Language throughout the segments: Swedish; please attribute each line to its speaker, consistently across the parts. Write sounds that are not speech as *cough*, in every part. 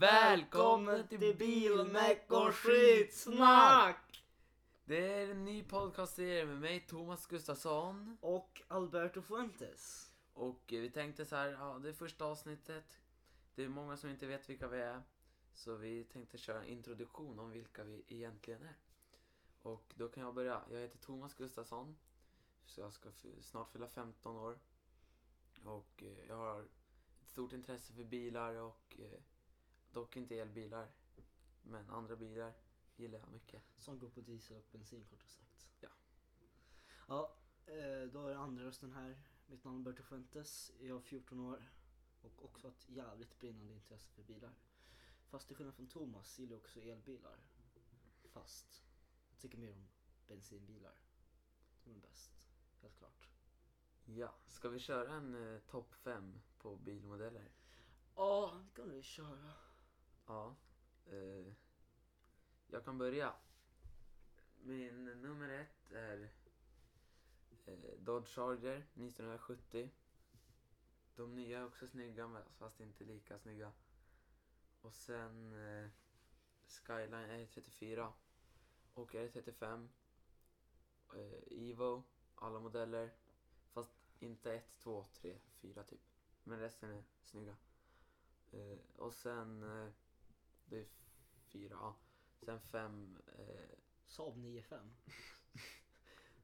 Speaker 1: Välkommen till Bilmek och skitsnack!
Speaker 2: Det är en ny podcastserie med mig, Thomas Gustafsson.
Speaker 1: Och Alberto Fuentes.
Speaker 2: Och eh, vi tänkte så här, ja, det är första avsnittet. Det är många som inte vet vilka vi är. Så vi tänkte köra en introduktion om vilka vi egentligen är. Och då kan jag börja. Jag heter Thomas Gustafsson. Så jag ska f- snart fylla 15 år. Och eh, jag har ett stort intresse för bilar och eh, dock inte elbilar. Men andra bilar gillar jag mycket.
Speaker 1: Som går på diesel och bensin kort och sagt.
Speaker 2: Ja.
Speaker 1: Ja, eh, då är det andra rösten här. Mitt namn är Alberto Fuentes. Jag är 14 år. Och också ett jävligt brinnande intresse för bilar. Fast till skillnad från Thomas gillar jag också elbilar. Fast jag tycker mer om bensinbilar. De är bäst, helt klart.
Speaker 2: Ja, ska vi köra en eh, topp 5 på bilmodeller?
Speaker 1: Ja, det kan vi köra.
Speaker 2: Ja. Eh, jag kan börja. Min nummer ett är eh, Dodge Charger 1970. De nya är också snygga, men- fast inte lika snygga. Och sen eh, Skyline R34 och R35. Eh, Evo, alla modeller. Fast inte 1, 2, 3, 4 typ. Men resten är snygga. Eh, och sen... Eh, det är fyra, ja. Sen fem... Eh,
Speaker 1: Saab 9-5.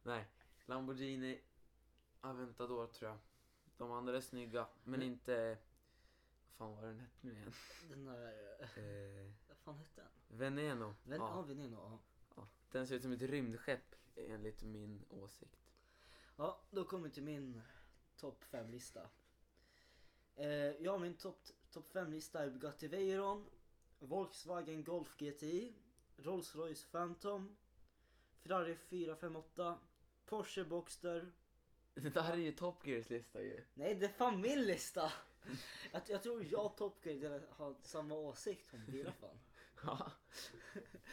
Speaker 2: nej, Lamborghini Aventador tror jag. De andra är snygga, men inte... Fan vad den hette nu *laughs* igen?
Speaker 1: Den där... eh,
Speaker 2: Eh,
Speaker 1: Vad fan hette den?
Speaker 2: Veneno.
Speaker 1: Ven- ja,
Speaker 2: ja,
Speaker 1: Veneno. Ja.
Speaker 2: ja. Den ser ut som ett rymdskepp enligt min åsikt.
Speaker 1: ja, då kommer vi till min topp 5-lista. Eh, ja, min topp top 5-lista är Bugatti Veyron, Volkswagen Golf GTI, Rolls-Royce Phantom, Ferrari 458, Porsche Boxster.
Speaker 2: *laughs* Det där är ju Top Gears lista ju.
Speaker 1: Nej, det är fan min lista! Jag, jag tror jag och Top Gear delar- har samma åsikt om bilar fan.
Speaker 2: *laughs* Ja.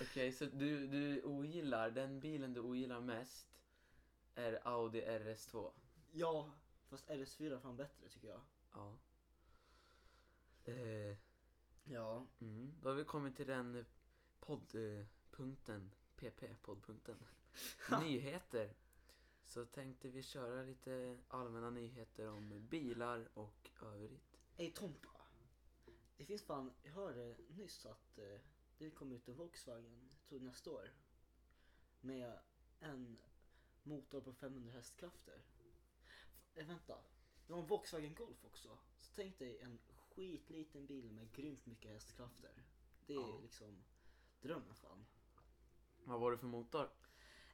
Speaker 2: Okej, så du, du ogillar, den bilen du ogillar mest är Audi RS2.
Speaker 1: *laughs* Ja, fast RS4 är fan bättre tycker jag.
Speaker 2: Ja. Eh,
Speaker 1: Ja,
Speaker 2: Mm, då har vi kommit till den eh, poddpunkten, PP-poddpunkten. *laughs* nyheter. Så tänkte vi köra lite allmänna nyheter om bilar och övrigt.
Speaker 1: Ey Tompa. Det finns fan, jag hörde nyss att eh, det kommer ut en Volkswagen, jag tror nästa år. Med en motor på 500 hästkrafter. F- eh, vänta, det var en Volkswagen Golf också. Så tänk dig en skitliten bil med grymt mycket hästkrafter. Det är
Speaker 2: Ja.
Speaker 1: liksom drömmen fan.
Speaker 2: Vad var det för motor?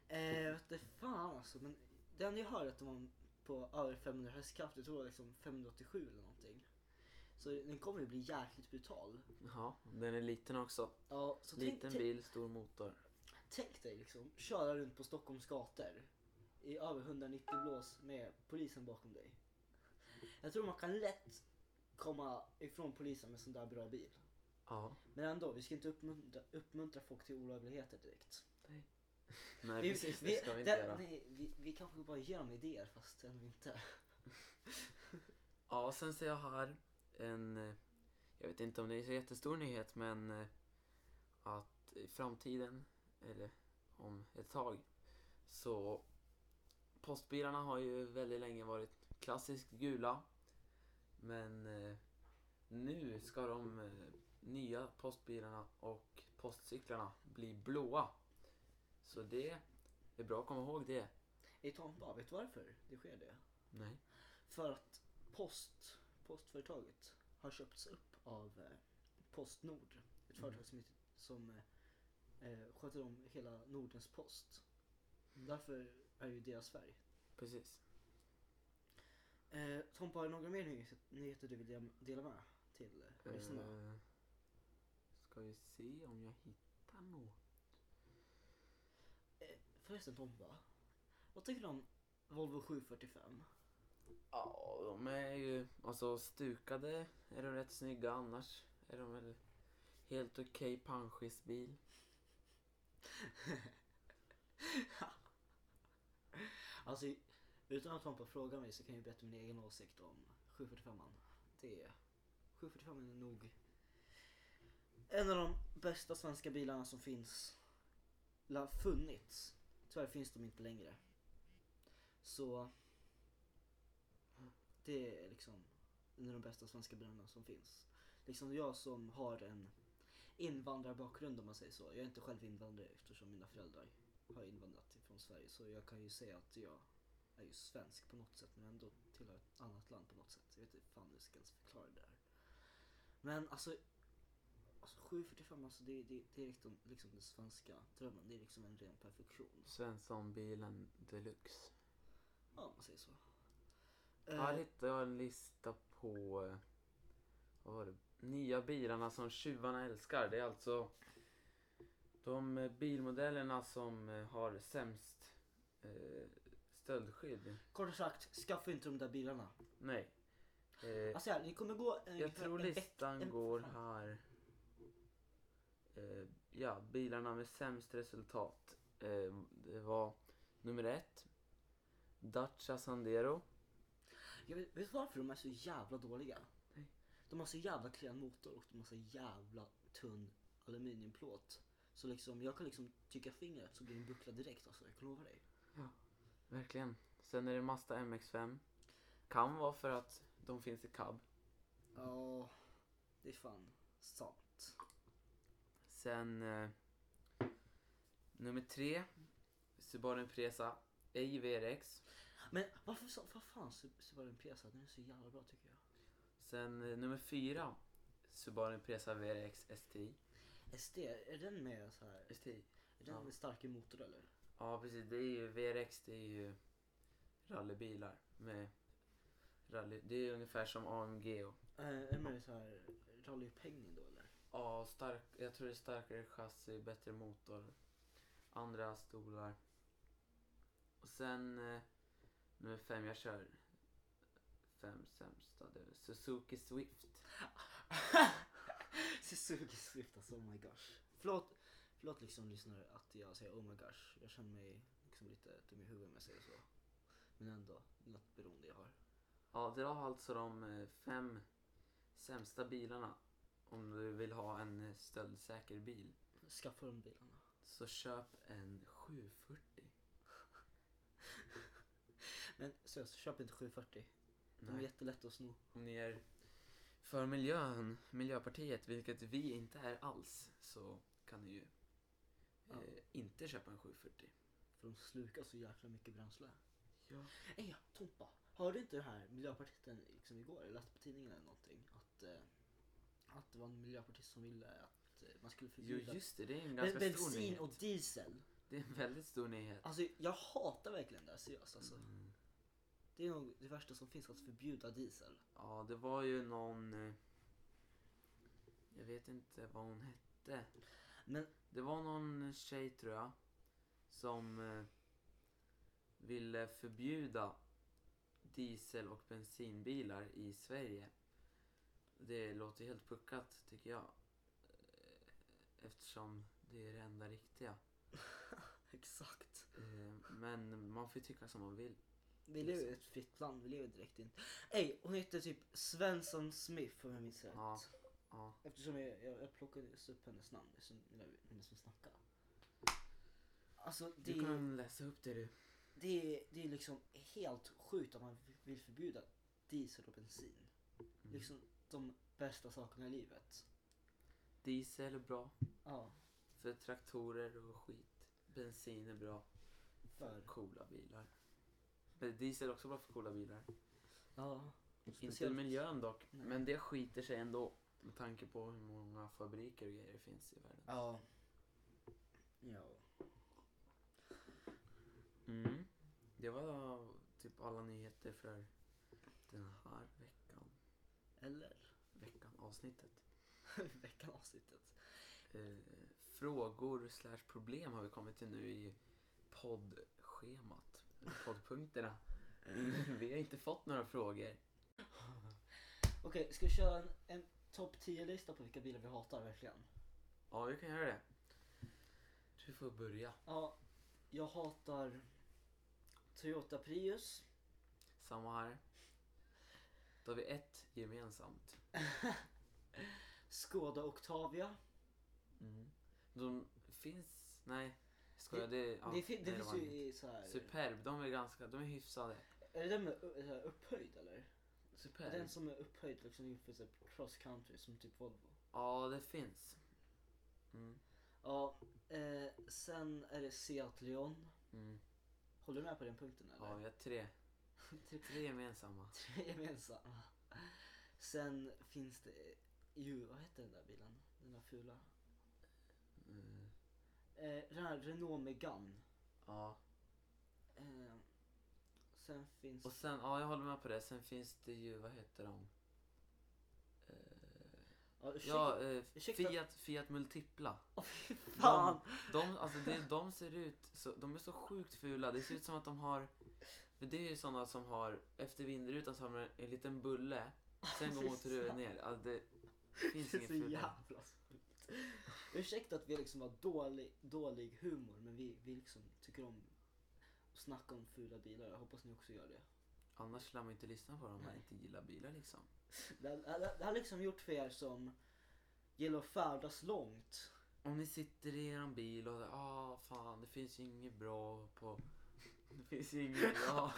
Speaker 1: Eh, vet du fan alltså, men den jag hörde att de var på över 500 hästkrafter, jag tror det var liksom 587 eller någonting. Så den kommer ju bli jäkligt brutal.
Speaker 2: Ja, den är liten också.
Speaker 1: Ja, så
Speaker 2: Liten
Speaker 1: tänk,
Speaker 2: bil, stor motor.
Speaker 1: Tänk, tänk dig liksom, köra runt på Stockholms gator i över 190 blås med polisen bakom dig. Jag tror man kan lätt komma ifrån polisen med sån där bra bil.
Speaker 2: Ja.
Speaker 1: Men ändå, vi ska inte uppmuntra, uppmuntra folk till olagligheter direkt.
Speaker 2: Nej, precis. Det ska vi inte
Speaker 1: där-
Speaker 2: göra.
Speaker 1: Nej, vi, vi kanske bara ger dem idéer fast ändå inte.
Speaker 2: Ja, och sen ser jag här en, eh, jag vet inte om det är så jättestor nyhet, men eh, att i framtiden, eller om ett tag, så postbilarna har ju väldigt länge varit klassiskt gula. Men eh, nu ska de eh, nya postbilarna och postcyklarna bli blåa. Så det är bra att komma ihåg det.
Speaker 1: I Tompa, vet du varför det sker det?
Speaker 2: Nej.
Speaker 1: För att post, postföretaget har köpts upp av eh, Postnord. Ett
Speaker 2: Mm.
Speaker 1: företag som, heter- som eh, eh, sköter om hela Nordens post. Därför är ju deras färg.
Speaker 2: Precis.
Speaker 1: Eh, Tompa, har du några mer nyheter, nyheter du vill dem- dela med till eh, lyssnarna?
Speaker 2: Eh, Ska vi se om jag hittar något.
Speaker 1: Eh, Förresten Tompa, vad tycker du om Volvo 745?
Speaker 2: Ja, de är ju alltså stukade. Är de rätt snygga annars? Är de väl helt okej panschisbil.
Speaker 1: Alltså, utan att Tompa frågar mig så kan jag ju berätta min egen åsikt om 745an. Det är... 745 är nog En av de bästa svenska bilarna som finns. La funnits. Tyvärr finns de inte längre. Så det är liksom en av de bästa svenska bilarna som finns. Liksom jag som har en invandrarbakgrund om man säger så. Jag är inte själv invandrare eftersom mina föräldrar har invandrat från Sverige. Så jag kan ju säga att jag är ju svensk på något sätt men ändå tillhör ett annat land på något sätt. Jag vet inte fan hur jag ska ens förklara det där. Men alltså, alltså 745 alltså det, det, det är liksom, liksom den svenska drömmen. Det är liksom en ren perfektion.
Speaker 2: Svenssonbilen deluxe.
Speaker 1: Ja, om man säger så.
Speaker 2: Här
Speaker 1: Eh,
Speaker 2: hittade jag en lista på eh, vad var det? nya bilarna som tjuvarna älskar. Det är alltså de eh, bilmodellerna som eh, har sämst eh, stöldskydd.
Speaker 1: kort sagt, skaffa inte de där bilarna.
Speaker 2: Nej. Eh,
Speaker 1: Alltså här, ni kommer gå en,
Speaker 2: Jag tror
Speaker 1: en veck-
Speaker 2: listan
Speaker 1: en-
Speaker 2: går
Speaker 1: fan.
Speaker 2: här. Eh, ja, bilarna med sämst resultat. Eh, det var nummer ett. Dacia Sandero.
Speaker 1: Jag vet, vet du varför de är så jävla dåliga?
Speaker 2: Nej.
Speaker 1: De har så jävla klen motor och de har så jävla tunn aluminiumplåt. Så liksom, jag kan liksom trycka fingret så blir det en buckla direkt alltså, jag kan lova dig.
Speaker 2: Verkligen. Sen är det Mazda MX5. Kan vara för att de finns i cab.
Speaker 1: Ja, det är fan sant.
Speaker 2: Sen eh, nummer tre. Subaru Impresa. Ej VRX.
Speaker 1: Men varför så, vad fan Sub- Subaru Impreza, den är så jävla bra tycker jag.
Speaker 2: Sen eh, nummer fyra. Subaru Impresa VRX STI.
Speaker 1: SD, är den med så här,
Speaker 2: STI.
Speaker 1: är den
Speaker 2: Ja.
Speaker 1: med stark motor eller?
Speaker 2: Ja precis, det är ju VRX, det är ju rallybilar med rally. Det är ungefär som AMG och
Speaker 1: Eh, är den med så här rallyupphängning då eller?
Speaker 2: ja, stark, jag tror det är starkare chassi, bättre motor, andra stolar. Och sen eh, nummer fem, jag kör fem sämsta, det är Suzuki Swift.
Speaker 1: Suzuki Swift alltså, oh my gosh. Förlåt, förlåt liksom lyssnare att jag säger oh my gosh. Jag känner mig liksom lite dum i huvudet om jag säger så. Men ändå, något beroende jag har.
Speaker 2: Ja, det var alltså de eh, fem sämsta bilarna om du vill ha en eh, stöldsäker bil.
Speaker 1: Skaffa de bilarna.
Speaker 2: Så köp en 740.
Speaker 1: Men seriöst, köp inte 740. De är
Speaker 2: Nej.
Speaker 1: jättelätta att sno.
Speaker 2: Om ni är för miljön, Miljöpartiet, vilket vi inte är alls, så kan ni ju
Speaker 1: Ja.
Speaker 2: eh, inte köpa en 740.
Speaker 1: För de slukar så jäkla mycket bränsle.
Speaker 2: Ja.
Speaker 1: Ey, Tompa! Hörde inte det här miljöpartisten liksom igår? Jag läste på tidningen eller någonting. Att, eh, att det var en miljöpartist som ville att eh, man skulle
Speaker 2: Jo,
Speaker 1: förbjuda
Speaker 2: just det. Det är en
Speaker 1: ben-
Speaker 2: ganska stor
Speaker 1: bensin
Speaker 2: nyhet.
Speaker 1: och diesel.
Speaker 2: Det är en väldigt stor nyhet.
Speaker 1: Alltså jag hatar verkligen det här, seriöst alltså.
Speaker 2: Mm.
Speaker 1: Det är nog det värsta som finns att förbjuda diesel. *laughs*
Speaker 2: Ja, det var ju någon... eh, Jag vet inte vad hon hette.
Speaker 1: Men
Speaker 2: Det var någon tjej, tror jag, som eh, ville förbjuda diesel och bensinbilar i Sverige. Det låter helt puckat, tycker jag. Eh, Eftersom det är det enda riktiga.
Speaker 1: exakt.
Speaker 2: Eh, Men man får ju tycka som man vill.
Speaker 1: Vi lever i ett fritt land, vi lever direkt in. Ey, hon heter typ Svensson Smith om jag minns rätt.
Speaker 2: Ja. Ja,
Speaker 1: Eftersom jag, jag, jag plockade just upp hennes namn, så när vi- när vi som snackade. Alltså det,
Speaker 2: du kan läsa upp det du.
Speaker 1: det, är- det är liksom helt sjukt att man vill förbjuda diesel och bensin.
Speaker 2: Mm.
Speaker 1: Liksom de bästa sakerna i livet.
Speaker 2: Mm. Diesel är bra
Speaker 1: Ja,
Speaker 2: för traktorer och skit. Bensin är bra för
Speaker 1: för.
Speaker 2: coola bilar. Men diesel är också bra för coola bilar.
Speaker 1: Ja.
Speaker 2: Inte miljön dock,
Speaker 1: Nej.
Speaker 2: men det skiter sig ändå. Med tanke på hur många fabriker och grejer det finns i världen.
Speaker 1: Ja. Ja.
Speaker 2: Mm. Det var typ alla nyheter för den här veckan.
Speaker 1: Eller? *laughs*
Speaker 2: Veckan, avsnittet.
Speaker 1: Veckan avsnittet.
Speaker 2: Eh, frågor slash problem har vi kommit till nu i poddschemat. eller Poddpunkterna. vi har inte fått några frågor.
Speaker 1: Okej, ska vi köra en, en topp 10-lista på vilka bilar vi hatar verkligen?
Speaker 2: Ja, vi kan göra det. Du får börja.
Speaker 1: Ja, jag hatar Toyota Prius.
Speaker 2: Samma här. Då har vi ett gemensamt.
Speaker 1: Skoda Octavia.
Speaker 2: Mm. De finns... Nej, skojar. Det, ja,
Speaker 1: det, fin- det
Speaker 2: nej,
Speaker 1: finns
Speaker 2: var
Speaker 1: ju
Speaker 2: inget.
Speaker 1: i så här...
Speaker 2: Superb, de är ganska... De är hyfsade.
Speaker 1: Är det den med u- så här, upphöjd eller?
Speaker 2: Superb.
Speaker 1: Den som är upphöjd liksom inför så här, cross country som typ Volvo.
Speaker 2: Ja, det finns. Mm.
Speaker 1: Ja, eh, sen är det Seat Leon.
Speaker 2: Mm.
Speaker 1: Håller du med på den punkten
Speaker 2: Ja,
Speaker 1: eller?
Speaker 2: vi har tre.
Speaker 1: *laughs* Tre-
Speaker 2: Tre gemensamma.
Speaker 1: *laughs* Tre gemensamma. ah. Sen finns det ju, vad heter den där bilen? Den där fula.
Speaker 2: Mm.
Speaker 1: Eh, den här Renault Megane.
Speaker 2: Ja.
Speaker 1: Eh, sen finns
Speaker 2: Och sen, ja jag håller med på det. Sen finns det ju, vad heter de? Eh,
Speaker 1: Ja, ursäkta.
Speaker 2: ja, eh,
Speaker 1: ursäkta.
Speaker 2: Fiat, Fiat Multipla.
Speaker 1: *laughs* Åh, fy fan!
Speaker 2: De, alltså det, de ser ut, så, de är så sjukt fula. Det ser ut som att de har, för det är ju sådana som har, efter vindrutan så har de en, en liten bulle. Sen går
Speaker 1: Fy
Speaker 2: motorhuven
Speaker 1: fan.
Speaker 2: ner. Alltså det finns
Speaker 1: Det är
Speaker 2: inget
Speaker 1: så
Speaker 2: fulare.
Speaker 1: jävla sjukt. Ursäkta att vi liksom har dålig, dålig humor men vi, vi liksom tycker om att snacka om fula bilar. Jag hoppas ni också gör det.
Speaker 2: Annars lär man inte lyssna på dem man
Speaker 1: Nej.
Speaker 2: inte gillar bilar liksom.
Speaker 1: Det, det, det har liksom gjort för er som gillar att färdas långt. *laughs*
Speaker 2: Om ni sitter i er bil och ah fan det finns ju inget bra på, det finns ju inget
Speaker 1: *laughs*
Speaker 2: bra.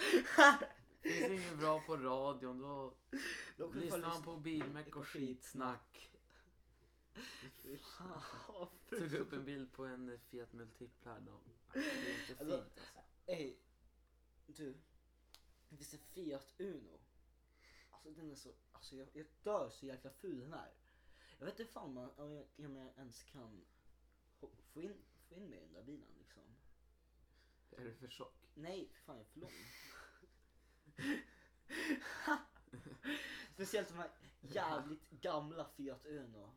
Speaker 2: Det finns inget bra på radion, då
Speaker 1: Då kan ni
Speaker 2: lyssnar
Speaker 1: fan
Speaker 2: man på Bilmek och skitsnack.
Speaker 1: Fan,
Speaker 2: Tog upp en bild på en Fiat Multipla här då. Det är inte fint
Speaker 1: Alltså-
Speaker 2: alltså.
Speaker 1: Ey, du. Det finns en Fiat Uno. Alltså den är så, alltså jag, jag dör så jäkla ful den är. Jag vet inte fan om man- om jag, om jag ens kan ho- få in, få in mig i den där bilen liksom.
Speaker 2: Är du för tjock?
Speaker 1: Nej, för fan jag är för lång. *laughs* Speciellt de här jävligt gamla Fiat Uno.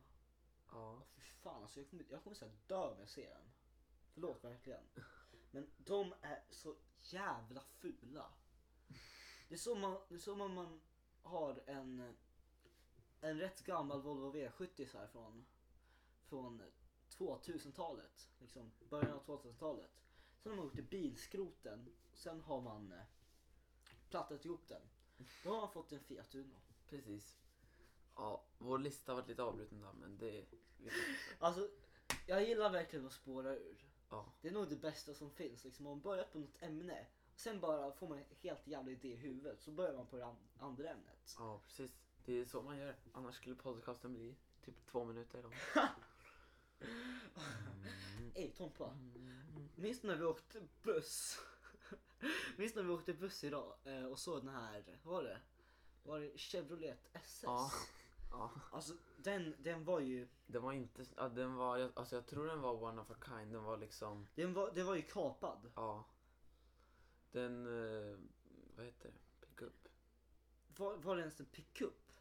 Speaker 2: Ja.
Speaker 1: Fy fan alltså, jag kommer, jag kommer säga dö om jag ser den. Förlåt verkligen. Men de är så jävla fula. Det är som man, det är som om man har en, en rätt gammal Volvo V70 så här från, från 2000-talet. Liksom början av 2000-talet. Sen har man gjort i bilskroten. Sen har man eh, plattat ihop den. Då har man fått en Fiat Uno.
Speaker 2: Precis. Ja, vår lista har varit lite avbruten där men det...
Speaker 1: Alltså, jag gillar verkligen att spåra ur.
Speaker 2: Ja.
Speaker 1: Det är nog det bästa som finns. Liksom. Om man börjar på något ämne, sen bara får man en helt jävla idé i huvudet, så börjar man på det an- andra ämnet.
Speaker 2: ja, precis. Det är så man gör. Annars skulle podcasten bli typ två minuter lång. Mm.
Speaker 1: Ey Tompa, minns du när vi åkte buss? *laughs* minns du när vi åkte buss idag eh, och såg den här, vad var det? Var det Chevrolet SS?
Speaker 2: Ja. Ja.
Speaker 1: Alltså den, den var ju,
Speaker 2: Den var inte... Ja, den var... jag- Alltså jag tror den var one of a kind. Den var liksom...
Speaker 1: den var, den var ju kapad.
Speaker 2: Ja. Den, eh, vad heter det? Pickup?
Speaker 1: Var, var det ens en pickup?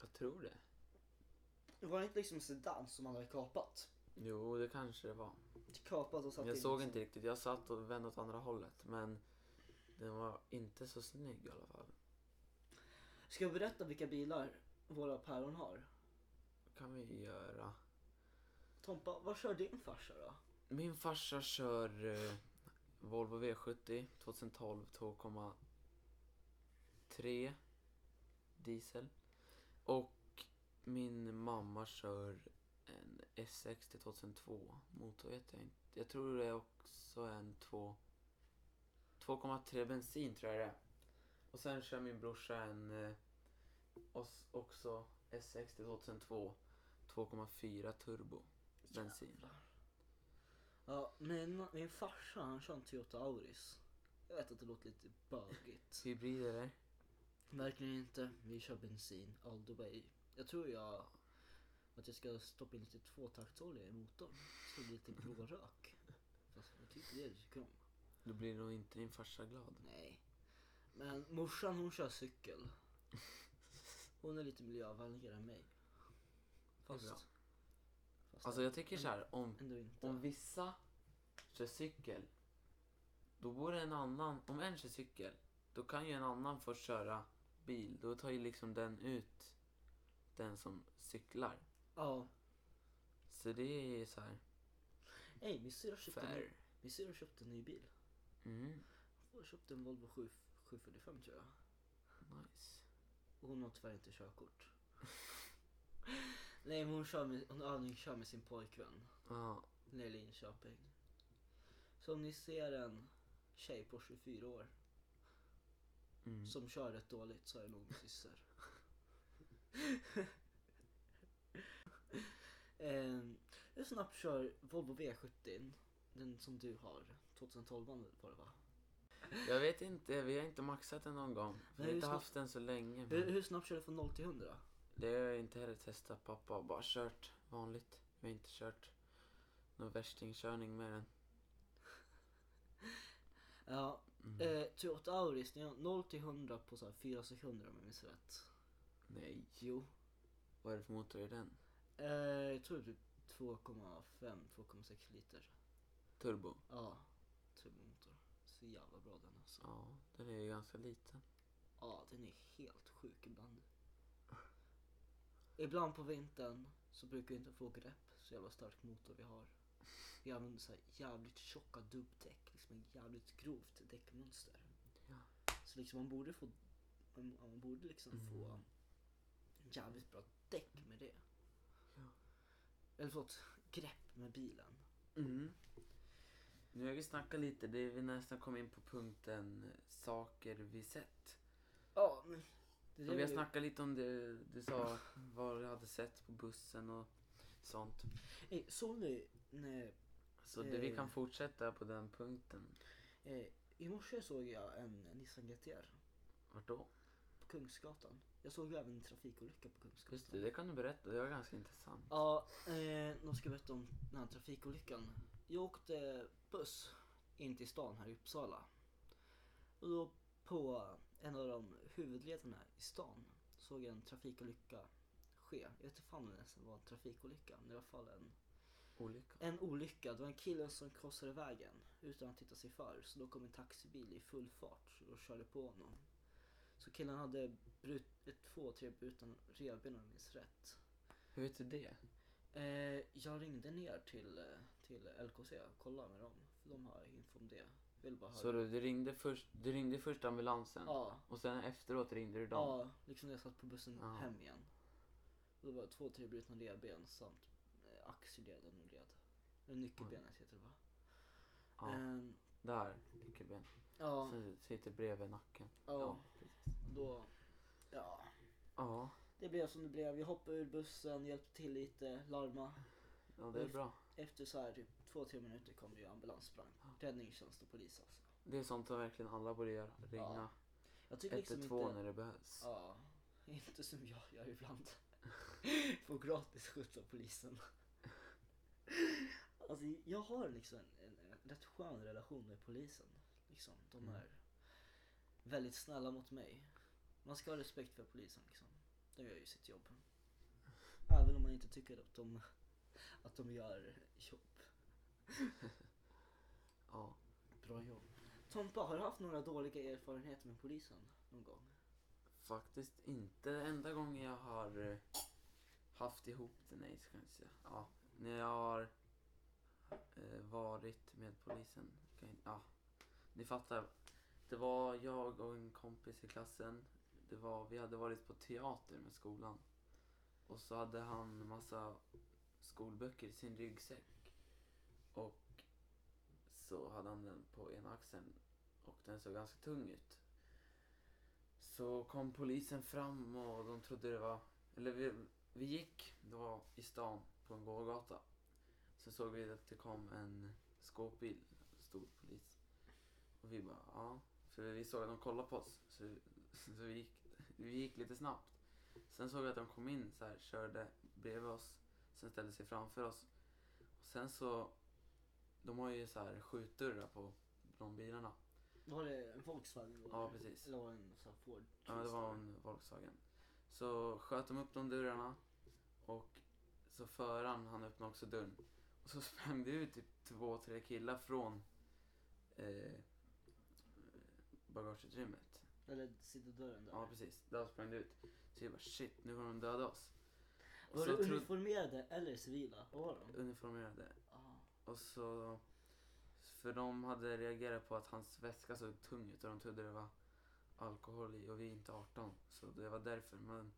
Speaker 2: Jag tror det.
Speaker 1: Var det inte liksom en sedan som man hade kapat?
Speaker 2: Jo, det kanske det var.
Speaker 1: Kapat och satt
Speaker 2: Jag
Speaker 1: in
Speaker 2: såg
Speaker 1: liksom.
Speaker 2: inte riktigt. Jag satt och vände åt andra hållet. Men den var inte så snygg i alla fall.
Speaker 1: Ska jag berätta vilka bilar våra päron har?
Speaker 2: kan vi göra.
Speaker 1: Tompa, vad kör din farsa då?
Speaker 2: Min farsa kör eh, Volvo V70 2012 2,3 diesel. Och min mamma kör en S60 2002 motor vet jag inte. Jag tror det är också en 2 2,3 bensin tror jag det är. Och sen kör min brorsa en eh, os- också S60 2002 2,4 turbo bensin.
Speaker 1: Ja, min, min farsa han kör en Toyota Auris. Jag vet att det låter lite
Speaker 2: *laughs*
Speaker 1: bögigt.
Speaker 2: Hybrid eller?
Speaker 1: Verkligen inte. Vi kör bensin all the way. Jag tror jag att jag ska stoppa in lite tvåtaktsolja i motorn. Så det blir lite blå rök. Fast jag tycker det tycker om.
Speaker 2: Då blir nog inte din farsa glad.
Speaker 1: Nej. Men morsan hon kör cykel. Hon är lite miljövänligare än mig.
Speaker 2: Det är
Speaker 1: Fast,
Speaker 2: bra.
Speaker 1: fast
Speaker 2: Alltså jag tycker så
Speaker 1: Mm.
Speaker 2: här, om,
Speaker 1: ändå inte.
Speaker 2: om vissa kör cykel, då borde en annan, om en kör cykel, då kan ju en annan få köra bil. Då tar ju liksom den ut den som cyklar.
Speaker 1: Ja.
Speaker 2: Så det är ju så här,
Speaker 1: Ey, min syrra köpte, en ny-
Speaker 2: fair.
Speaker 1: min syrra köpte en ny bil.
Speaker 2: Mm,
Speaker 1: Jag köpte en Volvo 7, 745 tror jag.
Speaker 2: nice.
Speaker 1: Och hon har tyvärr inte körkort. *laughs* Nej, hon, kör med, hon övningskör med sin pojkvän
Speaker 2: Ja,
Speaker 1: nere i Linköping. Så om ni ser en tjej på 24 år
Speaker 2: mm.
Speaker 1: som kör rätt dåligt så är det nog min syster. *laughs* Ehm, Hur snabbt kör Volvo V70? Den som du har, 2012 var det va?
Speaker 2: Jag vet inte, vi har inte maxat den någon gång. Vi har
Speaker 1: Nej,
Speaker 2: inte
Speaker 1: så-
Speaker 2: haft den så länge.
Speaker 1: Hur,
Speaker 2: Men
Speaker 1: hur snabbt kör du från 0 till 100?
Speaker 2: det har jag inte heller testat. Pappa har bara kört vanligt. Vi har inte kört någon värstingkörning med den.
Speaker 1: Ja,
Speaker 2: Mm.
Speaker 1: eh, Toyota Auris, ni har 0 till 100 på så här 4 sekunder om jag minns rätt.
Speaker 2: Nej,
Speaker 1: Jo.
Speaker 2: vad är det för motor i den?
Speaker 1: Eh, jag tror typ 2,5-2,6 liter.
Speaker 2: Turbo?
Speaker 1: Ja, turbomotor. Så jävla bra den alltså.
Speaker 2: Ja, den är ju ganska liten.
Speaker 1: Ja, den är helt sjuk ibland. Ibland på vintern så brukar vi inte få grepp, så jävla stark motor vi har. Vi använder så här jävligt tjocka dubbdäck, liksom ett jävligt grovt däckmönster.
Speaker 2: Ja.
Speaker 1: Så liksom man borde få, man, man borde liksom
Speaker 2: Mm.
Speaker 1: få jävligt bra däck med det.
Speaker 2: Ja.
Speaker 1: Eller förlåt, grepp med bilen.
Speaker 2: Mm. Nu har vi snackat lite, det är vi nästan kom in på punkten eh, saker vi sett.
Speaker 1: Ja, men det
Speaker 2: Och vi
Speaker 1: är
Speaker 2: har
Speaker 1: ju-
Speaker 2: snackat lite om det du sa, vad du hade sett på bussen och sånt.
Speaker 1: Ey, Eh, Såg ni när
Speaker 2: Så det, vi
Speaker 1: Eh.
Speaker 2: kan fortsätta på den punkten.
Speaker 1: Eh, I morse såg jag en Nissan GTR
Speaker 2: Vart då?
Speaker 1: på Kungsgatan. Jag såg ju även en trafikolycka på
Speaker 2: Just det,
Speaker 1: Kungsgatan.
Speaker 2: det kan du berätta, det var ganska intressant.
Speaker 1: Ja, eh, de ska jag berätta om den här trafikolyckan. Jag åkte buss in till stan här i Uppsala. Och då på en av de huvudlederna i stan såg jag en trafikolycka ske. Jag vet inte fan om det ens var en trafikolycka, men i alla fall en
Speaker 2: Olycka.
Speaker 1: en olycka. Det var en kille som krossade vägen utan att titta sig för. Så då kom en taxibil i full fart och körde på honom. Så killen hade brut- ett, två, tre brutna revben om jag minns rätt.
Speaker 2: Hur vet du det?
Speaker 1: Eh, jag ringde ner till, eh, till LKC och kollade med dem. För de har info om det. Vill bara
Speaker 2: Så
Speaker 1: höra.
Speaker 2: du, du, ringde först, du ringde först ambulansen
Speaker 1: Ja,
Speaker 2: och sen efteråt ringde du dem?
Speaker 1: ja, liksom när jag satt på bussen
Speaker 2: Ja.
Speaker 1: hem igen. Och det var två, tre brutna revben samt eh, axelleden och led. Eller Nyckelbenet heter det va?
Speaker 2: Ja.
Speaker 1: Ehm,
Speaker 2: Där, nyckelben.
Speaker 1: ja,
Speaker 2: Sen sitter bredvid nacken.
Speaker 1: ja,
Speaker 2: precis.
Speaker 1: då... Ja.
Speaker 2: Ja,
Speaker 1: Det blev som det blev. Jag hoppade ur bussen, hjälpte till lite, larma.
Speaker 2: ja det är bra.
Speaker 1: Efter så här typ två, tre minuter kom det ju ambulansbrand. Räddningstjänst och polis alltså.
Speaker 2: Det är sånt som verkligen alla borde göra. Ringa
Speaker 1: Jag tycker liksom
Speaker 2: 112
Speaker 1: inte...
Speaker 2: när det behövs.
Speaker 1: Ja. Inte som jag gör ibland. Får gratis skjuts av polisen. Alltså jag har liksom en, en, en rätt skön relation med polisen. Liksom, de
Speaker 2: Mm.
Speaker 1: är väldigt snälla mot mig. Man ska ha respekt för polisen liksom. De gör ju sitt jobb. Även om man inte tycker att de, att de gör jobb.
Speaker 2: Ja.
Speaker 1: Bra jobb. Tompa, har du haft några dåliga erfarenheter med polisen någon gång?
Speaker 2: Faktiskt inte. Enda gången jag har eh, haft ihop det, nej så kan jag inte säga. Ja, när jag har eh, varit med polisen. Kan jag, ja, ni fattar. Det var jag och en kompis i klassen. Det var, vi hade varit på teater med skolan. Och så hade han massa skolböcker i sin ryggsäck. Och så hade han den på ena axeln och den såg ganska tung ut. Så kom polisen fram och de trodde det var... Eller vi, vi gick, det var i stan, på en gågata. Så såg vi att det kom en skåpbil, stor polis. Och vi bara, ja. För vi såg att de kollade på oss. Så, *laughs* så vi, gick, vi gick lite snabbt. Sen såg vi att de kom in så här, körde bredvid oss. Sen ställde sig framför oss. Och sen så, de har ju så här skjutdörrar på de bilarna.
Speaker 1: Var det en Volkswagen?
Speaker 2: Ja, precis.
Speaker 1: Eller var det en sån här Ford?
Speaker 2: Ja, det var
Speaker 1: Keystone?
Speaker 2: en Volkswagen. Så sköt de upp de dörrarna och så föraren han öppnade också dörren. Och så *laughs* sprang det ut typ två, tre killar från eh, bagageutrymmet.
Speaker 1: Eller sidodörren där.
Speaker 2: Ja, precis. Där sprang det ut. Så vi bara shit, nu kommer de döda oss. Och
Speaker 1: var
Speaker 2: så
Speaker 1: det
Speaker 2: trodde-
Speaker 1: uniformerade eller civila? Vad var de?
Speaker 2: uniformerade.
Speaker 1: Ah,
Speaker 2: Och så... För de hade reagerat på att hans väska såg tung ut och de trodde det var alkohol i och vi är inte 18. Så det var därför. Men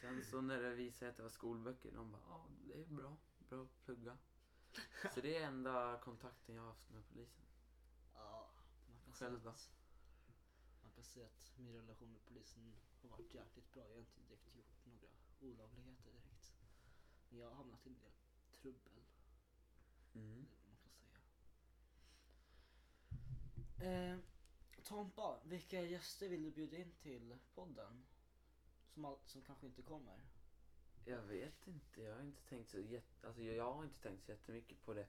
Speaker 2: Sen så när det visade sig att det var skolböcker, de bara ja, det är bra, bra att plugga. Så det är enda kontakten jag har haft med polisen.
Speaker 1: Ja, man kan
Speaker 2: Själva.
Speaker 1: säga att, man kan säga att min relation med polisen har varit jäkligt bra. Jag har inte direkt gjort några olagligheter direkt. Men jag har hamnat i en del trubbel,
Speaker 2: Mm.
Speaker 1: det är vad man kan säga. Eh, Tompa, vilka gäster vill du bjuda in till podden? Som, all, som kanske inte kommer?
Speaker 2: Jag vet inte, jag har inte tänkt så jätte, alltså jag har inte tänkt så jättemycket på det.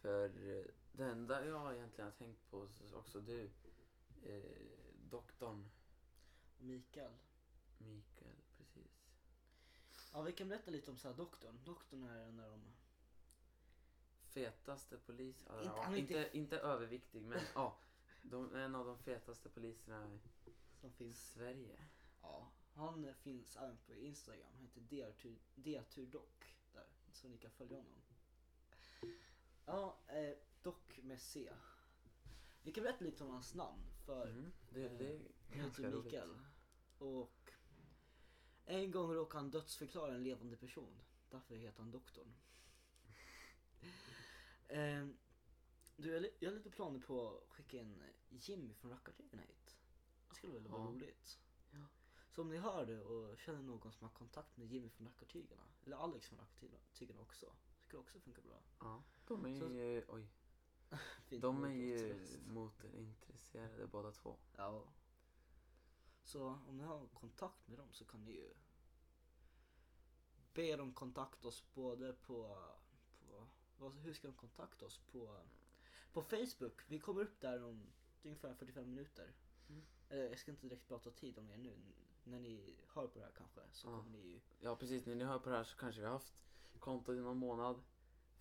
Speaker 2: För eh, det enda jag egentligen har tänkt på, så- också du, eh, doktorn
Speaker 1: Och Mikael?
Speaker 2: Mikael, precis.
Speaker 1: Ja, vi kan berätta lite om så här doktorn. Doktorn är en av de...
Speaker 2: Fetaste polis, ja,
Speaker 1: Inte- han är
Speaker 2: inte,
Speaker 1: inte-
Speaker 2: inte, överviktig men ja, de, en av de fetaste poliserna
Speaker 1: som
Speaker 2: i
Speaker 1: finns
Speaker 2: Sverige.
Speaker 1: Ja, han finns även på Instagram. Han heter Drtur- drturdock där, så ni kan följa honom. Ja, eh, dock med C. Vi kan berätta lite om hans namn, för
Speaker 2: Mm. Det, det är
Speaker 1: han
Speaker 2: ganska
Speaker 1: Eh, heter
Speaker 2: roligt.
Speaker 1: typ Mikael. Och en gång råkade han dödsförklara en levande person. Därför heter
Speaker 2: *laughs*
Speaker 1: han doktorn. eh, du, jag, li- jag har lite planer på att skicka in Jimmy från Rackartiden hit. Det skulle väl vara
Speaker 2: Ja.
Speaker 1: roligt?
Speaker 2: Ja.
Speaker 1: Så om ni hör det och känner någon som har kontakt med Jimmy från Rackartygarna, eller Alex från Rackartygarna också. Det skulle också funka bra. *laughs*
Speaker 2: Ja, de är
Speaker 1: Så-
Speaker 2: ju, oj,
Speaker 1: Fint
Speaker 2: de är
Speaker 1: med
Speaker 2: ju
Speaker 1: podcast.
Speaker 2: motorintresserade båda två.
Speaker 1: Ja. Så om ni har kontakt med dem så kan ni ju be dem kontakta oss både på, på vad, hur ska de kontakta oss? På, på Facebook. Vi kommer upp där om ungefär 45 minuter.
Speaker 2: Mm.
Speaker 1: Eller jag ska inte direkt prata tid om er nu. När ni hör på det här kanske så
Speaker 2: Ja.
Speaker 1: kommer ni ju
Speaker 2: Ja precis, när ni hör på det här så kanske vi har haft kontot i någon månad.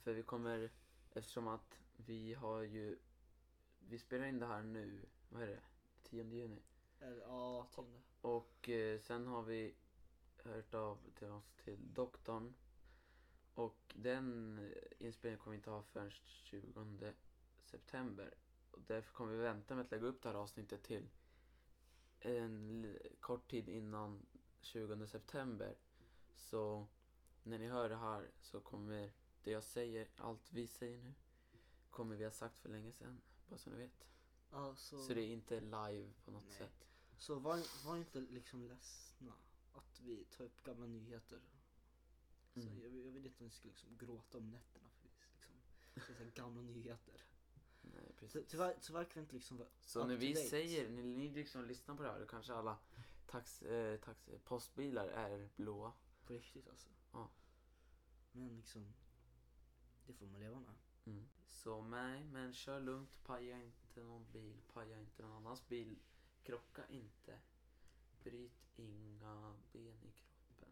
Speaker 2: För vi kommer, eftersom att vi har ju, vi spelar in det här nu, vad är det, 10 juni.
Speaker 1: Eller, ja, tionde.
Speaker 2: Och eh, sen har vi hört av till oss till doktorn. Och den eh, inspelningen kommer vi inte ha förrän 20 september. Och därför kommer vi vänta med att lägga upp det här avsnittet till en l- kort tid innan 20 september. Så när ni hör det här så kommer det jag säger, allt vi säger nu, kommer vi ha sagt för länge sedan. Bara så ni vet.
Speaker 1: Ja, så,
Speaker 2: Så det är inte live på något
Speaker 1: Nej.
Speaker 2: sätt.
Speaker 1: så var, var inte liksom ledsna att vi tar upp gamla nyheter.
Speaker 2: Mm.
Speaker 1: Så jag, jag vill inte att ni ska liksom gråta om nätterna för vi liksom, det är så här gamla nyheter.
Speaker 2: Nej,
Speaker 1: Ty,
Speaker 2: precis.
Speaker 1: tyvärr, tyvärr kan vi inte liksom vara
Speaker 2: Så
Speaker 1: Up
Speaker 2: när
Speaker 1: to
Speaker 2: vi
Speaker 1: date.
Speaker 2: säger, när ni liksom lyssnar på det här, då kanske alla tax, eh, tax, postbilar är blåa.
Speaker 1: på riktigt alltså.
Speaker 2: Ja.
Speaker 1: Men liksom, det får man leva med. Mm.
Speaker 2: Så nej, men kör lugnt, paja inte någon bil, paja inte någon annans bil, krocka inte, bryt inga ben i kroppen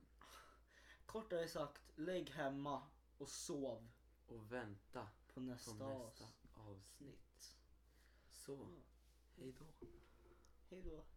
Speaker 1: Kortare sagt, lägg hemma och sov
Speaker 2: och vänta
Speaker 1: på
Speaker 2: på
Speaker 1: nästa,
Speaker 2: nästa avsnitt.
Speaker 1: avsnitt.
Speaker 2: Så, hej då.
Speaker 1: Hej då.